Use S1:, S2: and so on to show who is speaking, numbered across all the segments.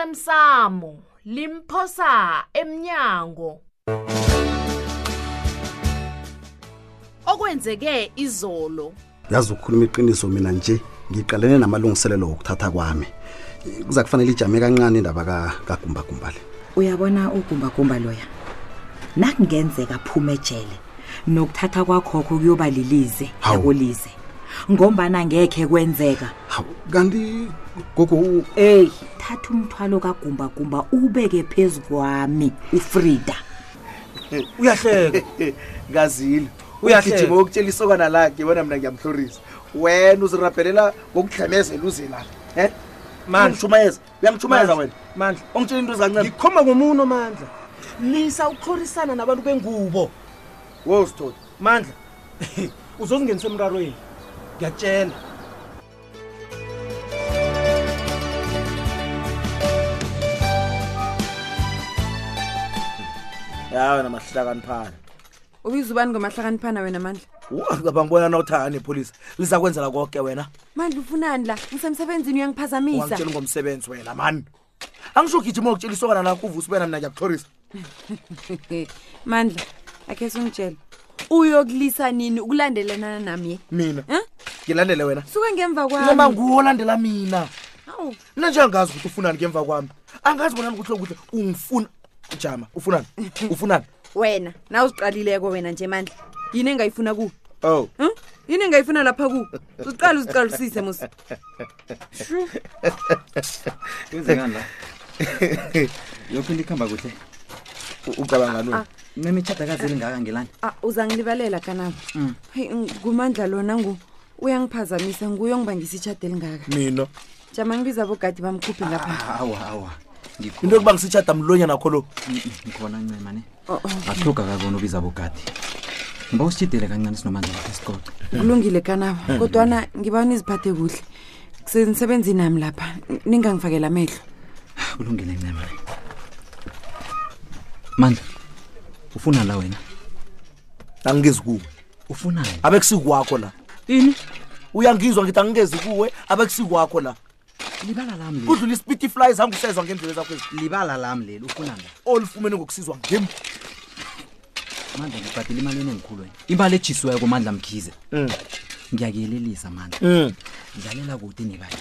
S1: osemsamo limphosa emnyango okwenzeke izolo
S2: yazi ukukhuluma iqiniso mina nje ngiqalene namalungiselelo okuthatha kwami kuza kufanele ijame kancane indaba ka- kagumbagumba le
S3: uyabona ugumbagumba loya nakungenzeka phume ejele nokuthatha kwakhokho kuyoba lilize
S2: Hawu.
S3: yakulize ngombana ngekhe kwenzeka
S2: hawu kanti gogo u-
S3: eyi thatha umthwalo kagumbagumba ubeke phezu kwami ufrida
S4: uyahleka
S5: ngazile
S4: Uyahleka.
S5: ugijima ukutshela isokana lakhe bona mna ngiyamhlorisa wena uzirabhelela ngokudlamezela uze la um
S4: Mandla.
S5: uyangishumayeza uyangishumayeza
S4: Mandla,
S5: wena
S4: mandla
S5: ungitshela into ezancane
S4: ngikhomba ngomuno mandla lisa ukuhlorisana nabantu bengubo
S5: wozithola
S4: mandla uzozingenisa emrarweni ngiyakutshela
S5: ya wena mahlakaniphana
S6: ubiza ubani ngomahlakaniphana wena mandla
S5: ngaba ngibona na uthakane ipholisa liza kwenzela konke wena
S6: mandla ufunani la ngisemsebenzini uyangiphazamisa
S5: wangitshela ngomsebenzi wena mani angisho ugijima ngokutshela isokana lakho uvusa ubena mna ngiyakuhlorisa
S6: mandla akhe sungitshela uyokulisa nini ukulandelelana nami ye
S5: mina
S6: Eh?
S5: ngilandele wena
S6: suke ngemva
S5: noma
S6: kwami
S5: nguwo olandela mina
S6: Hawu,
S5: mna nje angazi ukuthi ufunani ngemva kwami angazi bonani kuhle kuhle ungifuna jama ufunani ufunani
S6: wena naw uziqalileko wena nje mandla yini engayifuna ku
S5: oh
S6: um yini engayifuna lapha ku uziqale uziqalisise mos
S7: kwenzekani la yonke into ikuhamba kuhle
S5: ucabangani wena
S7: memitshadakazeli ngaka ngelani
S6: Ah, uzangilibalela kanabo heyi ngumandla lona ngu uyangiphazamisa nguye ongibangisa itshade elingaka
S5: mina
S6: jama ngibiza bogadi bamkhuphi lapha
S7: awa awa Mm,
S5: into yokuba ngisitshada mlonya nakho lo
S7: ngikhona ncema ne akuhloga kakona ubiza bogadi ngiba usitshidele kancane sinomandla lapha esicoce
S6: kulungile kanabo kodwana ngiba niziphathe kuhle senisebenzi nami lapha n- ningangifakela amehlo
S7: kulungile ncema ne mandla ufuna la wena
S5: angingezi kuwe
S7: ufunani
S5: abekusikwakho la
S6: ini
S5: uyangizwa ngithi angingezi kuwe abekusikwakho la
S7: libala lami leli
S5: kudlula ispiti fly zange usezwa ngendlela zakho ezi
S7: libala lami leli ufunani la
S5: olifumene ngokusizwa ngim
S7: mandla ngibhadela imali enengikhulu wena imali ejisiweko mandla mkhize
S5: Mm.
S7: ngiyakuyelelisa mandla dlalela kude nebali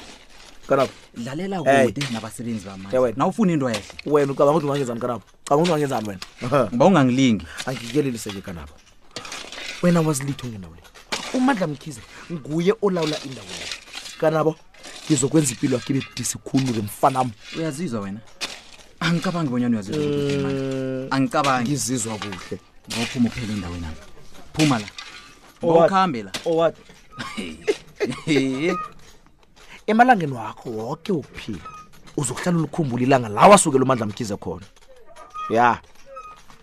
S5: kanabo
S7: dlalela
S5: Hey.
S7: kude nabasebenzi
S5: Eh, wena.
S7: bamandla nawufuna into yehle
S5: wena ucabanga ukuthi ungangenzani kanabo cabanga ukuthi ungangenzani wena
S7: ngiba ungangilingi
S5: angikuyeleliseke kanabo wena wazilitho ngendawo le umandla mkhize nguye olawula indawo le kanabo ngizokwenza impilo yakho ibe budisi khulu-ke mfanami
S7: uyazizwa wena angicabangi bonyana uyazizwa ukuthi
S5: Mm.
S7: uphumile. angicabangi
S5: ngizizwa kuhle
S7: ngophuma uphela endaweni ami phuma la
S5: Owathi.
S7: ngokuhambe la
S5: owat
S7: Hehe.
S5: emalangeni wakho woke wokuphila uzokuhlala ulikhumbula ilanga la wasukela umandla mkhize khona ya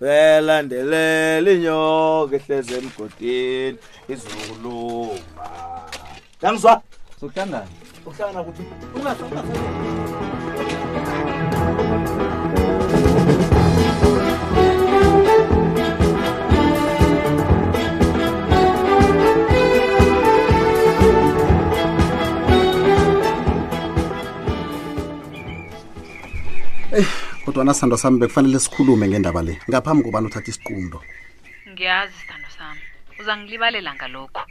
S5: belandelela inyoka ehleze emgodini izuluma yangizwa
S7: sokuhlangana
S5: uhlangana kuphi ungazi
S2: kodwa nasandwa sami bekufanele sikhulume ngendaba le ngaphambi kobani uthatha isiqundo
S8: ngiyazi sithando sami uzangilibalela ngalokho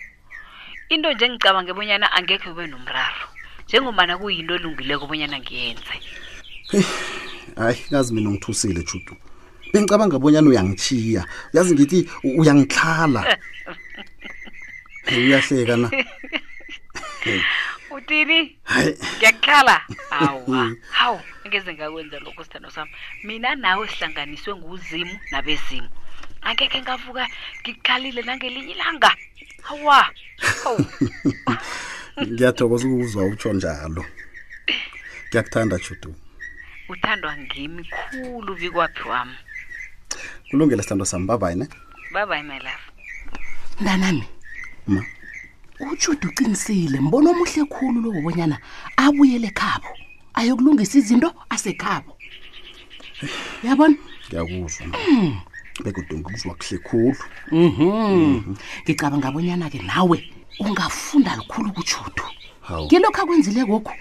S8: into nje ngicabange bonyana angekhe ube nomraro njengomana kuyinto elungileko bonyana ngiyenze
S2: hayi kazi mina ungithusile judu bengicabanga bonyana uyangichiya yazi ngithi u- uyangixhala Hey, uyahleka na
S8: uthini
S2: hayi
S8: ngiyakukhala hawa hawu angeze ngakwenza lokho sithando sami mina nawe sihlanganiswe nguzimu nabezimu angekhe ngavuka ngikukhalile nangelinye ilanga hawa hawu
S2: ngiyathokoza ukuzwa utsho njalo ngiyakuthanda judu
S8: uthandwa ngimi khulu bikwaphi wami
S2: kulungele sithandwa sami babayi ne
S8: babayi my love
S9: mntanami
S2: Ma.
S9: ujude uqinisile mbono omuhle khulu lokubonyana abuyele khabo ayokulungisa izinto asekhabo yabona
S2: ngiyakuzwa
S6: Hmm.
S2: bekude ngikuzwa kuhle khulu
S9: mhm ngicabanga abonyana-ke nawe ungafunda lukhulu kujudu
S2: hawu
S9: ngilokhu akwenzile kokhu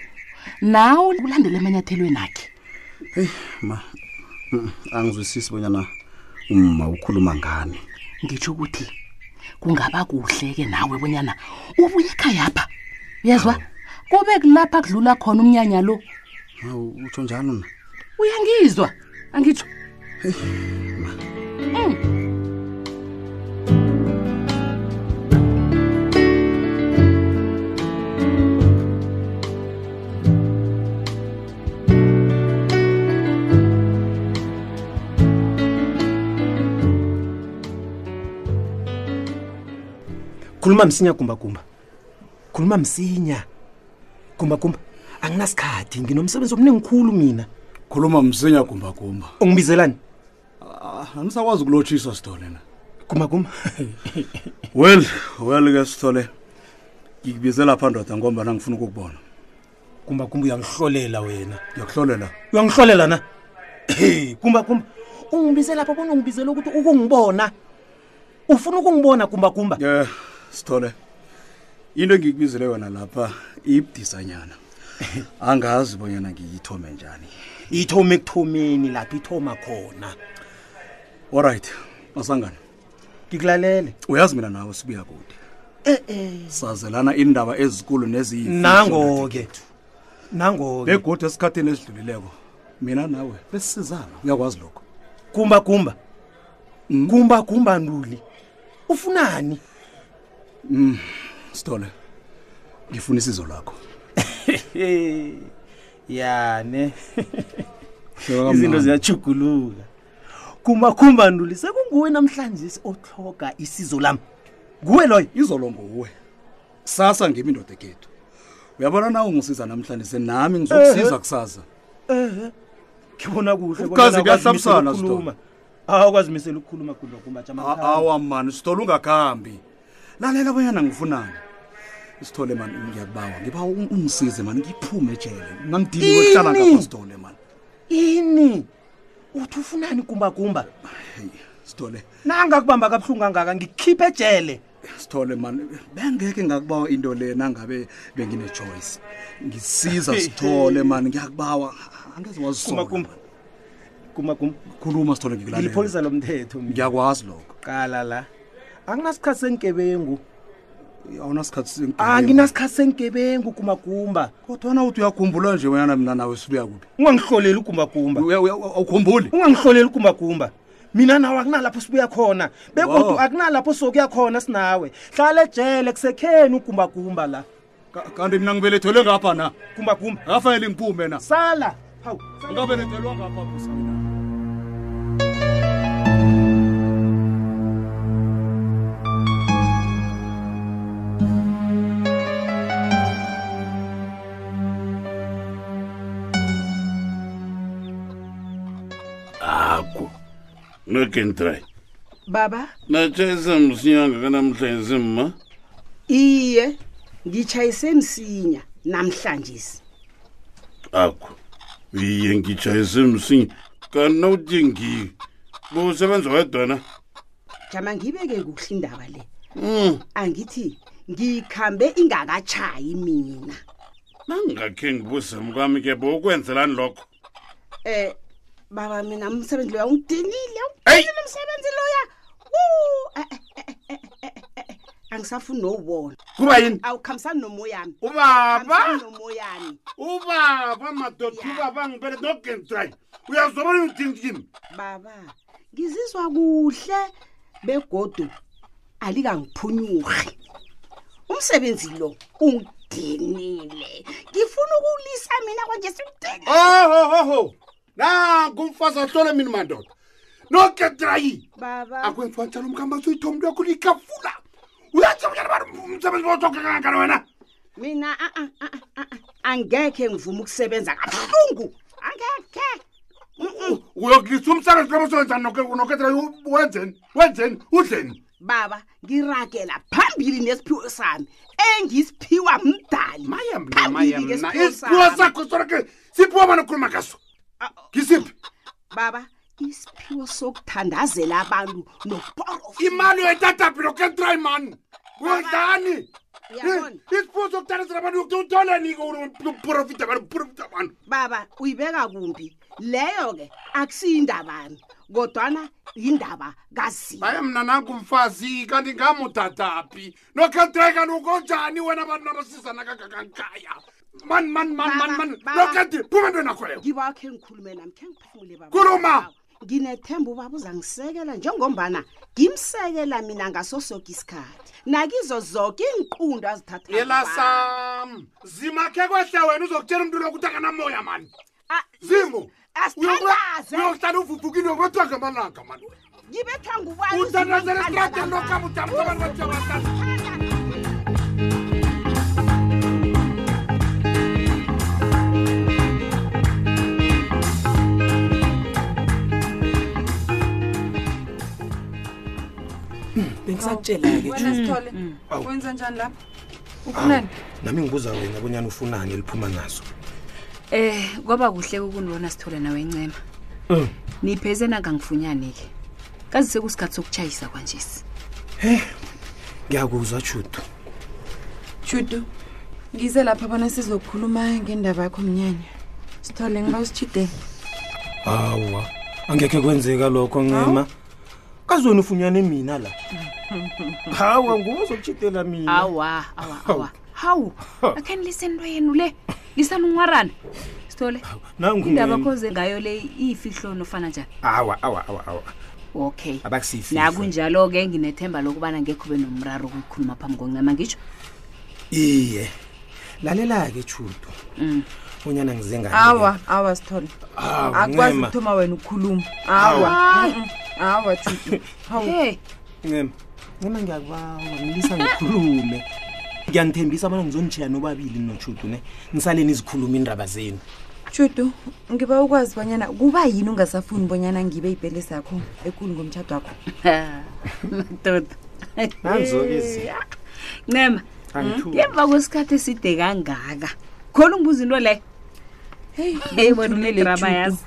S9: nawe ulandele emanyathelweni akhe
S10: heyi ma mm, angizwisisi bonyana umma ukhuluma ngani
S6: ngitsho ukuthi kungaba kuhle-ke nawe bonyana ubuye ekhayapha uyezwa kube kulapha kudlula khona umnyanya lo
S10: hawu utsho njalo na
S6: uyangizwa angitsho
S5: khuluma msinya gumbagumba khuluma msinya gumbagumba anginasikhathi nginomsebenzi omningikhulu mina
S2: khuluma msinya gumbagumba
S5: ungibizelani
S2: andisakwazi ukulotshisa sithole na
S5: gumbagumba
S2: well well ke sithole ngikubizela pha ndoda ngombana ngifuna ukukubona
S5: gumbagumba uyangihlolela wena
S2: ndiyakuhlolela
S5: uyangihlolela na Hey, gumbagumba ungibize lapho bona ungibizela ukuthi ukungibona ufuna ukungibona gumbagumba
S2: um sithole into engikubizele yona lapha ibudisanyana angazi bonyana ngiyithome njani
S5: ithome ekuthomeni lapho ithoma khona
S2: olright masangane
S5: ngikulalele
S2: uyazi mina nawe sibuya kude sazelana iindaba ezikulu neziyi
S5: nango-ke nango-ke
S2: begodwa esikhathini esidlulileko mina nawe besisizana uyakwazi lokho
S5: gumba gumba gumba gumba nduli ufunani
S2: sithole ngifuna isizo lakho
S5: yane izinto ziyachuguluka gumba gumba nduli sekunguwe namhlanje othloga isizo lami nguwe loyo
S2: izolo nguwe sasa ngimi indoda ekhethu uyabona nawe ungisiza namhlanje nami ngizokusiza kusasa
S5: ngibona kuhle
S2: Ubukazi
S5: bonyana
S2: buyahlabisana,
S5: awukwazimisela ukukhuluma. awukwazimisela ukukhuluma gumba gumba
S2: A-
S5: jama
S2: awa mani sithole ungakhambi lalela bonyana ngifunani sithole mani ngiyakubawa ngiba u- ungisize mani ngiphume ejele nangidiliwe kuhlala
S5: Ini?
S2: ngapha sithole mani
S5: ini uthi ufunani gumbagumba
S2: sithole
S5: nangakubamba kabuhlungu angaka ngikhiphe ejele
S2: sithole mani bengeke ngakubawa into le nangabe bengine-choice ngisiza sithole mani ngiyakubawa angeze wazisokhuluma
S5: gumbagumba gumbagumba
S2: sithole ngikulalela
S5: ngilipholisa lomthetho mina
S2: ngiyakwazi lokho
S5: qala la anginasikhathi sengebengu
S2: awunasikhathi
S5: anginasikhathi sengebengu kumagumba
S2: kodwana uthi uyakhumbula nje wena mina nawe sibuya kuphi
S5: ungangihloleli ugumagumba
S2: Uya- uya- awukhumbuli
S5: ungangihloleli ugumagumba mina nawe akunalapho sibuya khona bekodwa
S2: Wo.
S5: akunalapho sokuya khona sinawe hlala ejele kusekheni ugumbagumba la
S2: Ka- kanti mina ngibelethwele ngapha na
S5: gumbagumba
S2: akafanele ngiphume na
S5: sala hawu
S2: ngabelethelwa ngapha busa mina
S11: akho nokentry
S12: baba
S11: natshayisa msinyanga kanamhlanje ma
S6: iye ngitshayise msinya namhlanje
S11: akho iye ngitshayise msinya kanauthi ngiyo busebenza wedwana
S6: jama ngibeke kuhle indaba le
S11: Hmm,
S6: angithi ngikhambe ingakatshayi mina
S11: nangakhe ngibuse mkwami ke bowukwenzelani lokho
S6: eh baba mina umsebenzi loya ungidinile
S11: Hey!
S6: ungidinile umsebenzi loya Wu, eh, eh, eh, eh, eh, eh, eh, eh. angisafuni nowubona
S11: kuba yini
S6: awukhambisani nomoyami
S11: ubaba
S6: Awukhambisani nomoyami
S11: ubaba madoda ubaba ngibele nokentry uyazobona ngidingini
S6: baba ngizizwa kuhle begodu alingangiphunyurhi umsebenzi lo ungidinile ngifuna ukuwulisa mina kwanje simdinile
S11: ohohoho nangu umfazi ahlole mina madoda nokentrayi
S6: baba
S11: akwenziwatshalo mkhambaso uyithomuntu yakho likafula uyatsha bunyana bantu umsebenzi bawutogekangakana wena
S6: mina ah, ah, ah, ah, ah, angekhe ngivume ukusebenza kabuhlungu angekhe Mm, mm.
S11: uyokulisa umsebenzi lobo usebenzani noketrayi wenzeni wenzeni udleni
S6: baba ngiragela phambili nesiphiwo sami engisiphiwa mdali
S11: maye mna maye
S6: Phambili-ke
S11: mna
S6: isiphiwo
S11: isiphiwo
S6: sami.
S11: sakho sonke siphiwa bani okhuluma ngaso
S6: Ah,
S11: ngisiphi
S6: baba isiphiwo sokuthandazela
S11: oh,
S6: abantu nokuporofa
S11: imali yoyitatapi noketrayi mani uyodlani Eh, isifundo sokudanisa abantu uthola niko uprofita abantu uprofita abantu
S13: baba uyibeka kumbi leyo-ke akusiyindabani kodwana yindaba kazima
S11: hayi mna nangumfazi kanti ngamudadaphi nokhatheka nukonjani wena abantu nabasizana kangakangikaya mani mani mani mani mani nokati phuma into nakhoyo
S13: ngiba khe ngikhulume nami khe ngiphumule baba
S11: Khuluma!
S13: nginethemba ubaba uzangisekela njengombana ngimsekela mina ngaso soke isikhathi nakizo zoke iinqundo
S11: yelasam zimakhe kwehle wena uzokutshela umntu lokuthi akanamoya mani zimo
S13: asithandaze.
S11: uyokuhlala uvuvukile wethwa ngamalanga mani
S13: ngibethwa ngubani
S11: uthandazela esitradeni lokama ujama abantu bathabathaa
S14: bengisakutshela-ke
S6: wena sithole wenza njani lapha ufunani
S5: nami ngibuza wena bonyana ufunani eliphuma nazo
S3: Eh kwaba kuhle ukunibona sithole nawe ncema.
S5: Mm.
S3: Nipheze nangangifunyane ke. Kazi sekusikhathi sokuchayisa kwanjesi.
S5: ngiyakuzwa judu
S6: judu ngize lapha bona sizokhuluma ngendaba yakho mnyanya sithole ngiba usitshidele
S5: hawa angekhe kwenzeka lokho ncema kazi wena ufunyane mina la hawa nguwe uzokutshitela
S13: Ah.
S5: mina
S3: Awa, awa, awa. Hawu, akhani lisento yenu le. Lisanunwarana. Sithole.
S5: Nangu
S3: Indaba
S5: mina.
S3: khoze ngayo le ifihlo nofana njani?
S5: awa awa awa awa
S3: Okay.
S5: abakusifi
S3: Na kunjalo ke nginethemba lokubana ngekho benomraro ukukhuluma phambi kokuncema ngisho.
S5: iye lalela-ke judu bonyana ngize ngani
S6: awa awa sithole
S5: Awu,
S6: akwazi
S5: Ncema.
S6: ukuthoma wena ukukhuluma
S5: Awu.
S6: awa
S5: Hayi.
S6: mm-mm. awa judu hawu
S5: ncema ncema ngiyakubawa ngilisa ngikhulume ngiyanithembisa abana ngizonitshela nobabili nojudu ne nisale nizikhuluma iindaba zenu
S6: judu ngiba ukwazi bonyana kuba yini ungasafuni bonyana ngibe yipele sakho ekulu ngomtshato wakho
S3: Madoda.
S6: Nanzo-ke izinto.
S3: Eh, Ncema.
S6: Angithuki.
S3: Ngemva kwesikhathi eside kangaka. Khona ungibuza into leyo. Hey, wena unedrama yazi.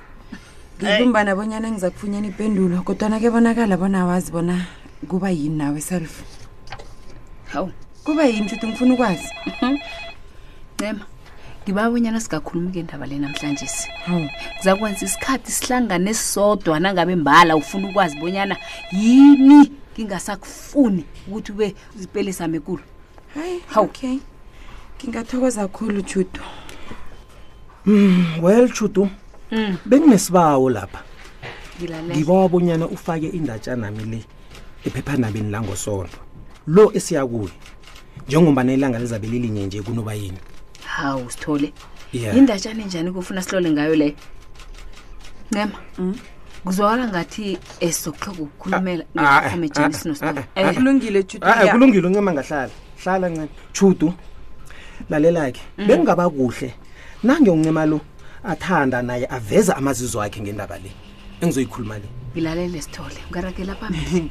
S6: ngilumbana bonyana ngiza kufunyana ipendulo kodwana ke bonakala bona wazi bona kuba yini nawe self
S3: hawu
S6: kuba yini judu ngifuna ukwazi
S3: ncema ngiba bonyana singakhulumi-ke ndaba le namhlanje si kuzakwenza isikhathi sihlangane sodwa nangabe mbala ufuna ukwazi bonyana yini ngingasakufuni ukuthi ube zipele sami kulo
S6: hayi okay ngingathokoza kakhulu judu
S5: Mm, well judu
S3: Mm.
S5: benginesibawo lapha
S3: ngilalela
S5: ngibawa bonyana ufake indatshanami le ephephandabeni langosondo lo esiya kuyo njengombana ilanga lizabe lilinye nje kunoba yini
S3: hawu sithole
S5: Yeah.
S3: yindatshane njani kufuna silole ngayo leyo ncema kuzwakala ngathi esizokuhloka ukukhulumela ngekomejani sinosithole Eh,
S5: Ah, ah, kulungile uncema ngahlala hlala ncema judu lalela-ke
S3: Mm.
S5: bengingaba kuhle nange uncema lo athanda naye aveza amazizo akhe ngendaba le engizoyikhuluma le
S3: ngilalele sithole ungarakela phambili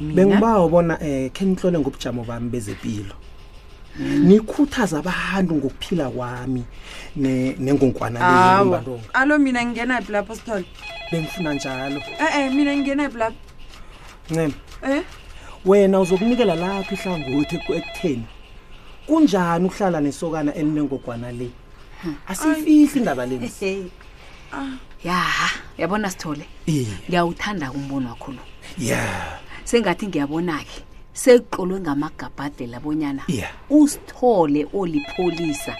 S5: bengibawa bona um khe nihlole ngobujamo bami bezempilo
S3: Mm.
S5: nikhuthaze abantu ngokuphila kwami ne- nengonkwana le
S6: awa
S5: yombantonga.
S6: alo mina ngingenaphi lapho sithole
S5: bengifuna njalo
S6: e-e mina ngingenaphi lapho
S5: ncema
S6: um
S5: wena uzokunikela lapho ihlangothi eku- ekutheni kunjani ukuhlala nesokana elinengogwana le asiyifihli indaba le
S3: ya yabona sithole
S5: Iye.
S3: ngiyawuthanda kumbono wakho lo
S5: ya
S3: sengathi ngiyabona-ke sekuqolwe ngamagabhadela bonyana
S5: Yeah.
S3: usithole olipholisa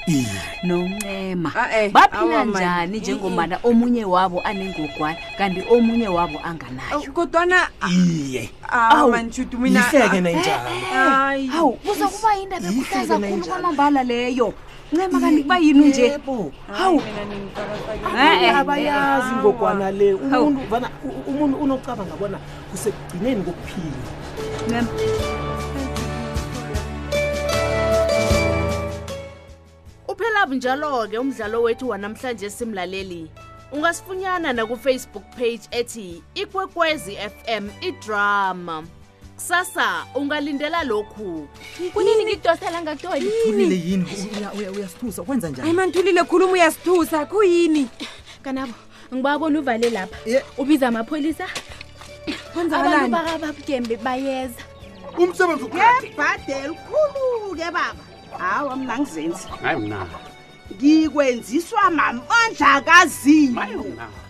S3: noncema
S6: eh, awa
S3: baphila
S6: man.
S3: njani njengomana omunye wabo anengogwana kanti omunye wabo anganayo
S6: oh, kodwana
S5: iye
S3: Awu,
S6: manjudu mina Eh,
S3: yihleke nayo
S6: Hayi.
S3: hawu kuzakuba yindaba ekhuthaza
S6: nayo
S3: khulu kwamambala leyo ncema kanti kuba yini unje hawu Eh, eh,
S5: abayazi ngogwana le
S3: Hawu.
S5: umuntu vana u- umuntu unocabanga bona kusekugcineni kokuphila
S3: ncema
S1: Uphela bunjalo-ke umdlalo wethu wanamhlanje simlaleli. Ungasifunyana nakufacebook page ethi ikwekwezi fm idrama. Kusasa ungalindela lokhu.
S15: kunini ngidosela ngakutoli
S7: ulile yini Uya- uya- uyasithusa kwenza njani
S15: manthulile khuluma uyasithusa kuyini kanabo ngibabona uvale lapha ubiza amapholisa
S6: Kwenzakalani?
S15: bakababugembe bayeza
S11: umsebenzi
S16: ngebhadeli khulu-ke baba hawa mna ngizenzi
S11: hayi mna
S16: ngikwenziswa mamandla kazinyo
S11: mna